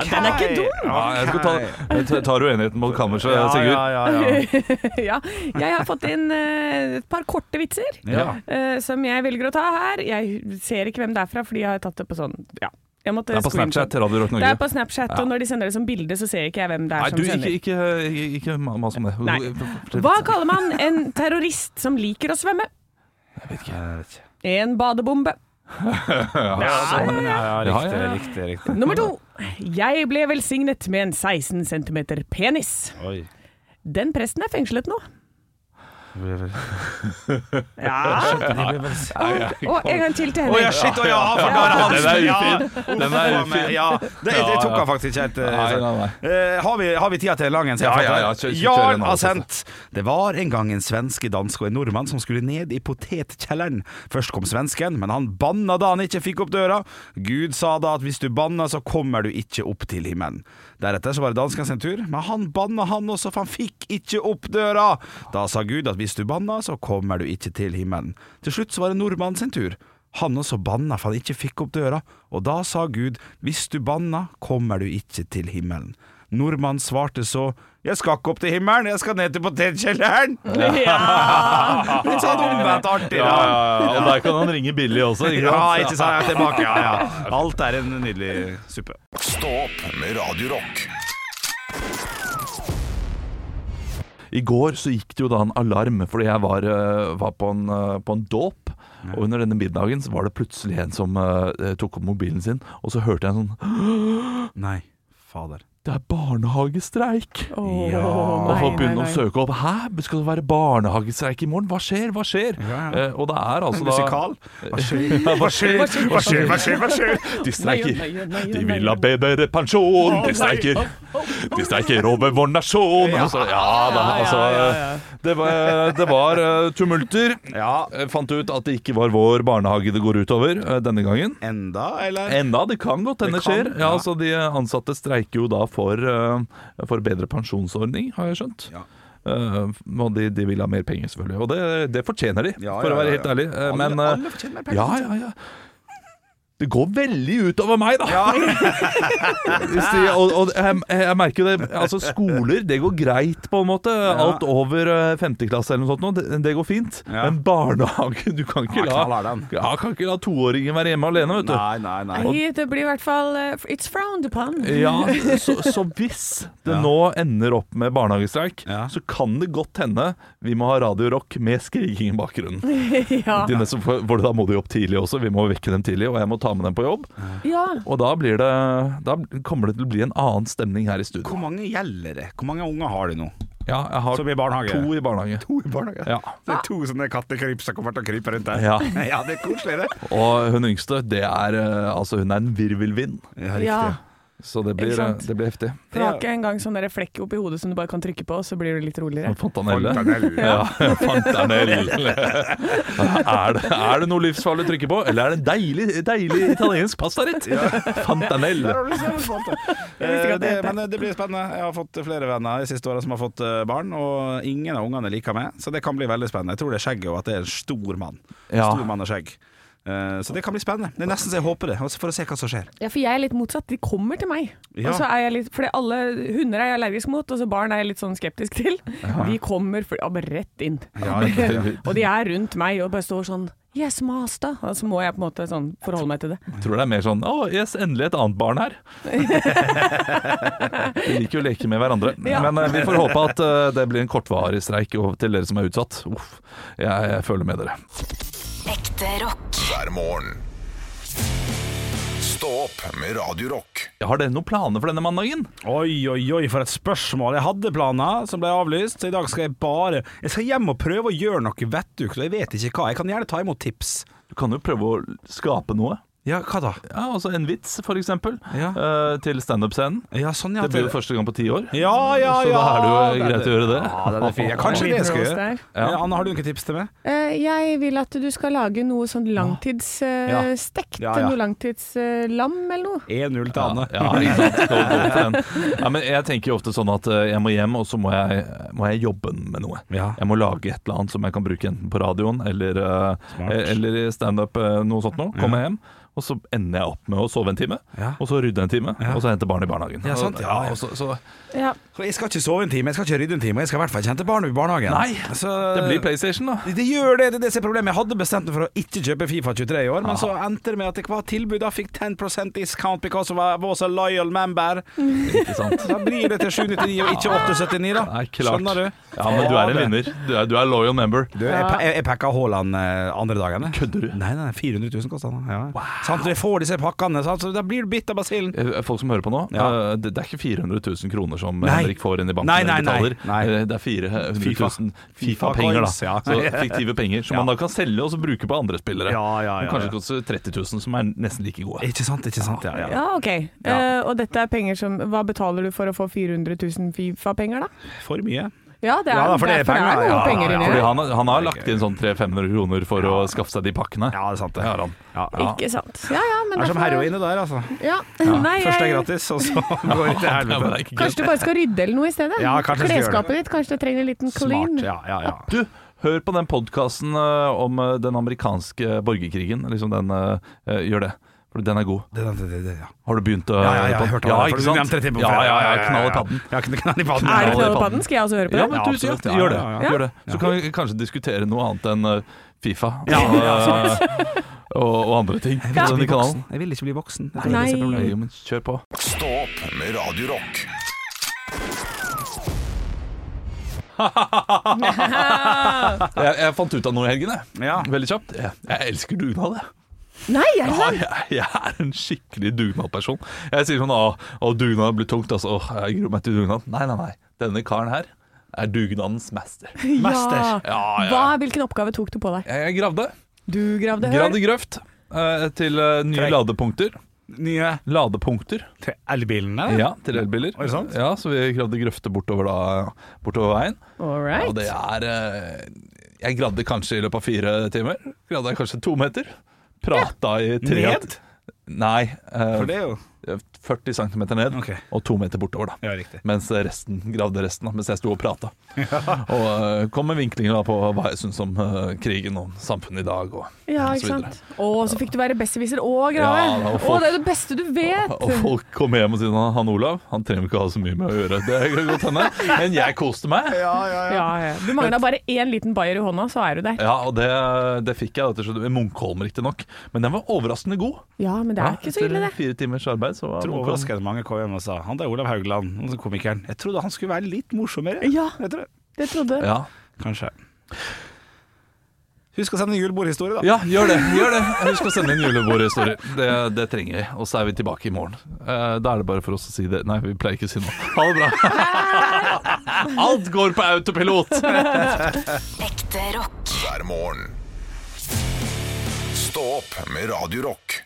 Den er ikke dum!
Ja, jeg skal ta, jeg tar- tar uenigheten mot kammerset,
Ja,
Sigurd.
ja, ja, ja.
ja, jeg har fått inn eh, et par korte vitser
Ja.
eh, som jeg velger å ta her. Jeg ser ikke hvem det er fra, fordi jeg har tatt det på sånn ja. Jeg måtte
Det er på
screenshot.
Snapchat, Radio Rock Norge.
Det er på Snapchat, og når de sender det som bilde, så ser ikke jeg hvem det er
Nei,
som
du, ikke,
sender.
ikke, ikke, ikke mas om det.
Nei. Hva kaller man en terrorist som liker å svømme? En badebombe.
Sånn, ja, ja,
Ja,
riktig,
ja.
riktig, riktig.
Nummer to. Jeg ble velsignet med en 16 cm penis.
Oi.
Den presten er fengslet nå. Ja. Og en gang til til
Å
Henrik.
ja, shit! Å ja, for da er
Den
det han som
er
ja.
ufin. Den er
Uff,
ufin.
Ja, det, det tok han faktisk ikke helt eh,
Nei, nei,
Eh, har, vi, har vi tid til lang en? så jeg
Ja,
fatter
ja,
det?
ja, kjør- kjør altså. en
Jarl
annen
har sendt Det var en gang en svenske, danske og en nordmann som skulle ned i potetkjelleren. Først kom svensken, men han banna da han ikke fikk opp døra. Gud sa da at hvis du banna, så kommer du ikke opp til himmelen. Deretter så var det dansken sin tur, men han banna han også, for han fikk ikke opp døra. Da sa Gud at hvis du banna, så kommer du ikke til himmelen. Til slutt så var det nordmannen sin tur. Han også banna for han ikke fikk opp døra, og da sa Gud, hvis du banna, kommer du ikke til himmelen. Nordmannen svarte så, jeg skal ikke opp til himmelen, jeg skal ned til potetkjelleren. Litt sånn omvendt artig,
Ja, ja,
da.
ja. Og der kan han ringe Billy også. Ikke
Ja,
sant?
ikke sant, jeg er tilbake, ja, ja. Alt er en nydelig suppe.
Stå opp med Radio Rock.
I går så gikk det jo da en alarm, fordi jeg var, eh, var på en, eh, på en dåp. Og under denne middagen så var det plutselig en som eh, tok opp mobilen sin, og så hørte jeg en sånn
Nei, fader.
Det er barnehagestreik!
Åh,
Ja.
Og
nei,
folk
nei,
begynner å
nei.
søke opp. Hæ, skal det være barnehagestreik i morgen? Hva skjer? Hva skjer?
Ja, ja.
Eh, og det er altså da
Musikal? Hva skjer? Hva skjer? Hva skjer? Hva skjer? Hva skjer?
De streiker.
Nei, nei, nei,
De
nei,
vil ha
nei.
bedre pensjon! De streiker. De streiker over vår nasjon!
Ja.
Altså, ja da, altså. Det var, det var eh, tumulter.
Ja,
Jeg fant ut at det ikke var vår barnehage det går utover eh, denne gangen.
enda, eller?
Enda, det kan godt hende
Det kan,
skjer. Ja,
ja.
altså, de ansatte streiker jo da for, eh, for bedre pensjonsordning, har jeg skjønt.
Ja.
Eh, og de, de vil ha mer penger, selvfølgelig. Og det, det fortjener de,
Ja,
for
ja,
å være
ja,
helt
ja.
ærlig. Eh,
Alle-
Men eh,
alle fortjener mer penger.
Ja, ja, ja. Det går veldig utover meg, da! Hvis de, og og jeg, jeg merker jo det Altså, skoler, det går greit, på en måte. Alt over eh, femte klasse eller noe sånt, nå, det, det går fint.
Ja.
Men barnehage Du kan ikke
Ja,
la
knall er den.
ja, kan ikke la toåringen være hjemme alene, vet du.
Nei, nei, nei.
Nei, det blir i hvert fall eh, It's frowned upon.
Ja, så, så hvis det
Ja.
nå ender opp med barnehagestreik,
Ja.
så kan det godt hende vi må ha Radio Rock med skriking i bakgrunnen.
Ja.
De neste, for, for da må de opp tidlig også, vi må vekke dem tidlig, og jeg må ta med dem på jobb.
ja.
Og da, blir det, da kommer det til å bli en annen stemning her i studio.
Hvor mange gjelder det? Hvor mange unger har du nå?
Ja, jeg har
Som i barnehage?
to i barnehage.
To i barnehage?
Ja.
Det er to sånne kattekryp som kommer til å krype rundt der.
Ja.
det er koselig, det.
Og hun yngste, det er eh, Altså, hun er en virvelvind,
ja.
så det blir,
Ikke sant?
eh, det blir heftig.
For du har ikke engang sånn der flekk oppi hodet som du bare kan trykke på, så blir du litt roligere.
Og Fontanelle.
Fontanelle.
Ja, fontanelle. Er det, er det noe livsfarlig å trykke på, eller er det en deilig, deilig italiensk pastarett? Fontanelle.
Eh, det, men det blir spennende. Jeg har fått flere venner de siste åra som har fått eh, barn, og ingen av ungene liker meg, så det kan bli veldig spennende. Jeg tror det er skjegget og at det er en stor mann.
Ja.
Stor mann og skjegg. Eh, Så det kan bli spennende. Det er nesten så jeg håper det, for å se hva som skjer.
Ja, for jeg er litt motsatt. De kommer til meg.
Ja.
Og så er jeg litt, fordi alle hunder er jeg allergisk mot, og så barn er jeg litt sånn skeptisk til. De kommer for, ja, bare rett inn. og de er rundt meg og bare står sånn Yes, master. Og så må jeg på en måte sånn forholde meg til det.
Tror det er mer sånn Å, yes, endelig et annet barn her. Vi liker jo å leke med hverandre.
Ja.
Men eh, vi får håpe at eh, det blir en kortvarig streik og til dere som er utsatt. Uff, jeg, jeg føler med dere.
Ekte rock.
hver morgen. Stå opp med Radio Rock.
Har dere noen planer for denne mandagen?
Oi, oi, oi, for et spørsmål. Jeg hadde planer som ble avlyst, så i dag skal jeg bare Jeg skal hjem og prøve å gjøre noe vettugt, og jeg vet ikke hva. Jeg kan gjerne ta imot tips.
Du kan jo prøve å skape noe.
Ja, hva da?
Ja, altså En vits, for eksempel,
Ja.
eh, til standup-scenen.
Ja, sånn, ja.
Det blir jo første gang på ti år.
Ja, ja,
Så
ja.
da er det jo
Den
greit å gjøre det.
Ja, den er fin. Ja, kanskje det jeg skal gjøre.
Der.
Ja.
Eh, Anne, har du noen tips til meg?
Eh, jeg vil at du skal lage noe sånn
Ja.
langtidsstekt.
Ja, ja.
Noe langtidslam eller noe.
1-0 til Anne.
Ja, ikke sant. Skal gå for den. Ja, men jeg tenker jo ofte sånn at eh, jeg må hjem, og så må jeg, må jeg jobbe med noe.
Ja.
Jeg må lage et eller annet som jeg kan bruke enten på radioen eller, eh,
Smart.
eller i standup, eh, noe sånt noe. Kommer jeg hjem, og så ender jeg opp med å sove en time,
Ja.
og så rydde en time, og så hente barn i barnehagen.
Ja, sant, ja, ja.
Og så, så
Ja.
Så Jeg skal ikke sove en time, jeg skal ikke rydde en time, og jeg skal i hvert fall kjente barn i barnehagen.
Nei,
så,
det blir PlayStation, da.
Det gjør det, det, er det som er problemet. Jeg hadde bestemt meg for å ikke kjøpe Fifa 23 i år, men så endte det med at jeg var tilbud. Jeg fikk 10 discount because of I was a loyal member.
Ikke sant?
Da blir det til 799 og ikke 879, da.
Nei, klart.
Skjønner du?
Ja, men du er en vinner. Du er, du er loyal member.
Du, jeg, pa- jeg, jeg pakka Haaland eh, andre dagen. jeg.
Kødder du?
Nei, nei, 400 000 kosta han. Ja. Sant, du får disse pakkene, sant? så da blir du bitt av basillen.
Eh, Folk som hører på nå,
Ja.
eh, det, det er ikke 400 000 kroner som
Nei.
Henrik får inn i banken
Nei, nei,
eller betaler.
nei, nei.
Eh, Det er 400
FIFA.
000
FIFA
Fifa-penger, da.
coins, ja.
Så fiktive penger som
Ja.
man da kan selge og så bruke på andre spillere.
Ja, ja, ja,
Som kanskje
ja.
koster 30 000, som er nesten like gode.
Ikke sant, ikke sant. Ja, ja.
Ja, OK. Eh, og dette er penger som Hva betaler du for å få 400 000 Fifa-penger, da?
For mye.
Ja, det er,
Ja, da, for det er
derfor
penger,
det er noen
ja, ja,
penger
ja.
inni
Fordi
her.
han, han har lagt inn sånn 300-500 kroner for å skaffe seg de pakkene.
Ja, det er sant.
Det har han.
Ja.
Ikke sant. Ja, ja, men
Det er som
derfor-
heroin det der, altså.
Ja. Nei,
Først er
jeg,
gratis, og så går det til
Ja, men det
helvete.
er ikke greit.
kanskje du bare skal rydde eller noe i stedet?
Ja, kanskje jeg skal gjøre
Klesskapet ditt, kanskje det trenger en liten clean?
Smart. Ja, ja, ja.
Du, hør på den podkasten om eh, den amerikanske borgerkrigen. Liksom den, eh, eh, gjør det, for den er god.
Det, det, det, det, ja.
Har du begynt å
Ja, ja, jeg
høre
har
på
hørt
den?
om
Ja,
det.
ikke
for Du nevnte det til
sant? Ja, ja, ja, knall i padden.
Ja, knall i padden.
Er det
Ja, det er
Knallpadden? Skal jeg også høre på det?
Ja, men du,
absolutt.
ja,
Ja,
gjør det.
ja,
ja.
Gjør det. Så kan vi kanskje diskutere noe annet enn eh, Fifa
Ja,
og, eh,
ja,
og, og andre ting på
Jeg vil
denne
ikke bli
kanalen.
voksen. Jeg vil ikke bli voksen. Det er
Nei.
det som
Nei,
er problemet.
men kjør på.
Stå opp med Radio Rock.
Jeg, jeg fant ut av noe i helgen, jeg.
Ja.
Veldig kjapt. Jeg, jeg elsker dugnad, jeg.
Nei, er det
Ja,
sant?
jeg, jeg er en skikkelig dugnadperson. Jeg sier sånn Å, å, dugnad blir tungt, altså. Åh, jeg gruer meg til dugnad. Nei, nei, nei. Denne karen her er dugnadens mester.
Mester.
Ja, ja.
Hva, hvilken oppgave tok du på deg?
Jeg gravde.
Du gravde høl.
Gravde grøft eh, til eh, nye
Tre.
ladepunkter.
Nye
Ladepunkter.
til elbilene. eller?
Ja, til elbiler.
Er det sant?
Ja, så vi gravde grøfter bortover, da, bortover veien.
All
Og
right.
det er eh, Jeg gravde kanskje i løpet av fire timer. Gravde jeg kanskje to meter. Prata i tre
Ned?
Nei. eh,
For det er jo
40 cm ned
Ok.
og to meter bortover. da
Ja, riktig.
Mens resten gravde resten, da, mens jeg sto og prata. Og eh, kom med vinklinger da på hva jeg syns om eh, krigen og samfunnet i dag. Og,
Ja,
og så
ikke
videre.
sant. Å, så fikk du være besserwisser og grave.
Ja, da, og
Å,
folk-
det er det beste du vet!
Og folk kom hjem og sa han Olav han trenger ikke ha så mye med å gjøre. Det kan godt hende. Men jeg koste meg.
Ja, ja. Du mangla bare én liten bayer i hånda, så er du der.
Ja, og det, det fikk jeg. da til slutt, I Munkholm, riktignok. Men den var overraskende god.
Ja, men det er ikke så ille,
Etter
det.
fire timers arbeid så var
Jeg tror
Munkholm
overraskende mange kom hjem og sa Han der Olav Haugland, han som komikeren. Jeg trodde han skulle være litt morsommere.
Ja.
Jeg tror det.
Det trodde
ja.
Kanskje. Husk å sende en julebordhistorie, da.
ja, gjør det. gjør det Husk å sende inn julebordhistorier. Det, det trenger vi. Og så er vi tilbake i morgen. Eh, da er det bare for oss å si det. Nei, vi pleier ikke å si noe. Ha det bra. Alt går på autopilot.
Ekte rock.
Hver morgen. Stå opp med Radio Rock.